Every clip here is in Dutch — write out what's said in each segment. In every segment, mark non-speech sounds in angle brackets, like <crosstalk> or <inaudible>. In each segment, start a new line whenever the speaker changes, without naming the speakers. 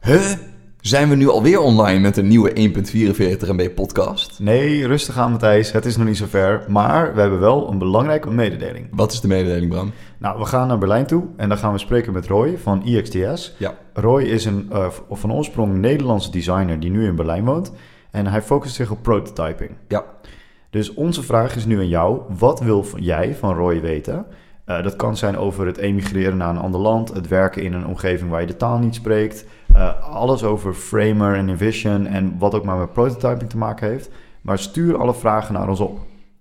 Huh? Zijn we nu alweer online met een nieuwe 1.44 MB podcast?
Nee, rustig aan Matthijs, het is nog niet zover. Maar we hebben wel een belangrijke mededeling.
Wat is de mededeling, Bram?
Nou, we gaan naar Berlijn toe en dan gaan we spreken met Roy van IXTS.
Ja.
Roy is een eh, van oorsprong Nederlandse designer die nu in Berlijn woont. En hij focust zich op prototyping.
Ja.
Dus onze vraag is nu aan jou: wat wil van- jij van Roy weten? Eh, dat kan zijn over het emigreren naar een ander land, het werken in een omgeving waar je de taal niet spreekt, eh, alles over Framer en Envision en wat ook maar met prototyping te maken heeft. Maar stuur alle vragen naar ons op.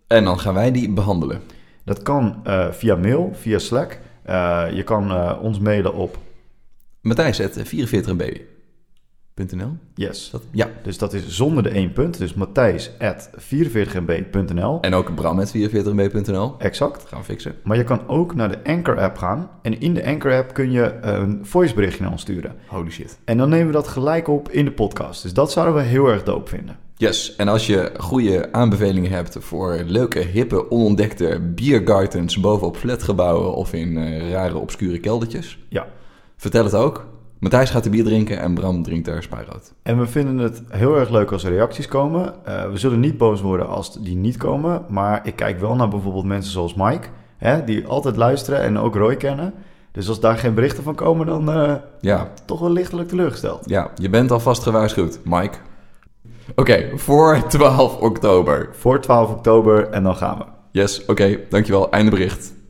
En dan gaan wij die behandelen.
Dat kan eh, via mail, via Slack. Eh, je kan eh, ons mailen op
Matthijs, het 44mb.nl? Is
yes.
dat? Ja.
Dus dat is zonder de één punt. Dus Matthijs 44mb.nl.
En ook Bram met 44mb.nl.
Exact.
Gaan we fixen.
Maar je kan ook naar de Anchor app gaan. En in de Anchor app kun je eh, een voiceberichtje naar ons sturen.
Holy shit.
En dan nemen we dat gelijk op in de podcast. Dus dat zouden we heel erg dope vinden.
Yes, en als je goede aanbevelingen hebt voor leuke, hippe, onontdekte biergartens bovenop flatgebouwen of in eh, rare, obscure keldertjes,
Ja.
vertel het ook. Matthijs gaat de bier drinken en Bram drinkt daar spijrood.
En we vinden het heel erg leuk als er reacties komen. Eh, we zullen niet boos worden als die niet komen. Maar ik kijk wel naar bijvoorbeeld mensen zoals Mike. Hè, die altijd luisteren en ook Roy kennen. Dus als daar geen berichten van komen, dan eh,
Ja,
toch wel lichtelijk teleurgesteld.
Ja, je bent alvast gewaarschuwd, Mike. Oké, voor <laughs> 12 oktober.
Voor 12 oktober en dan gaan we.
Yes, oké, dankjewel. Einde bericht.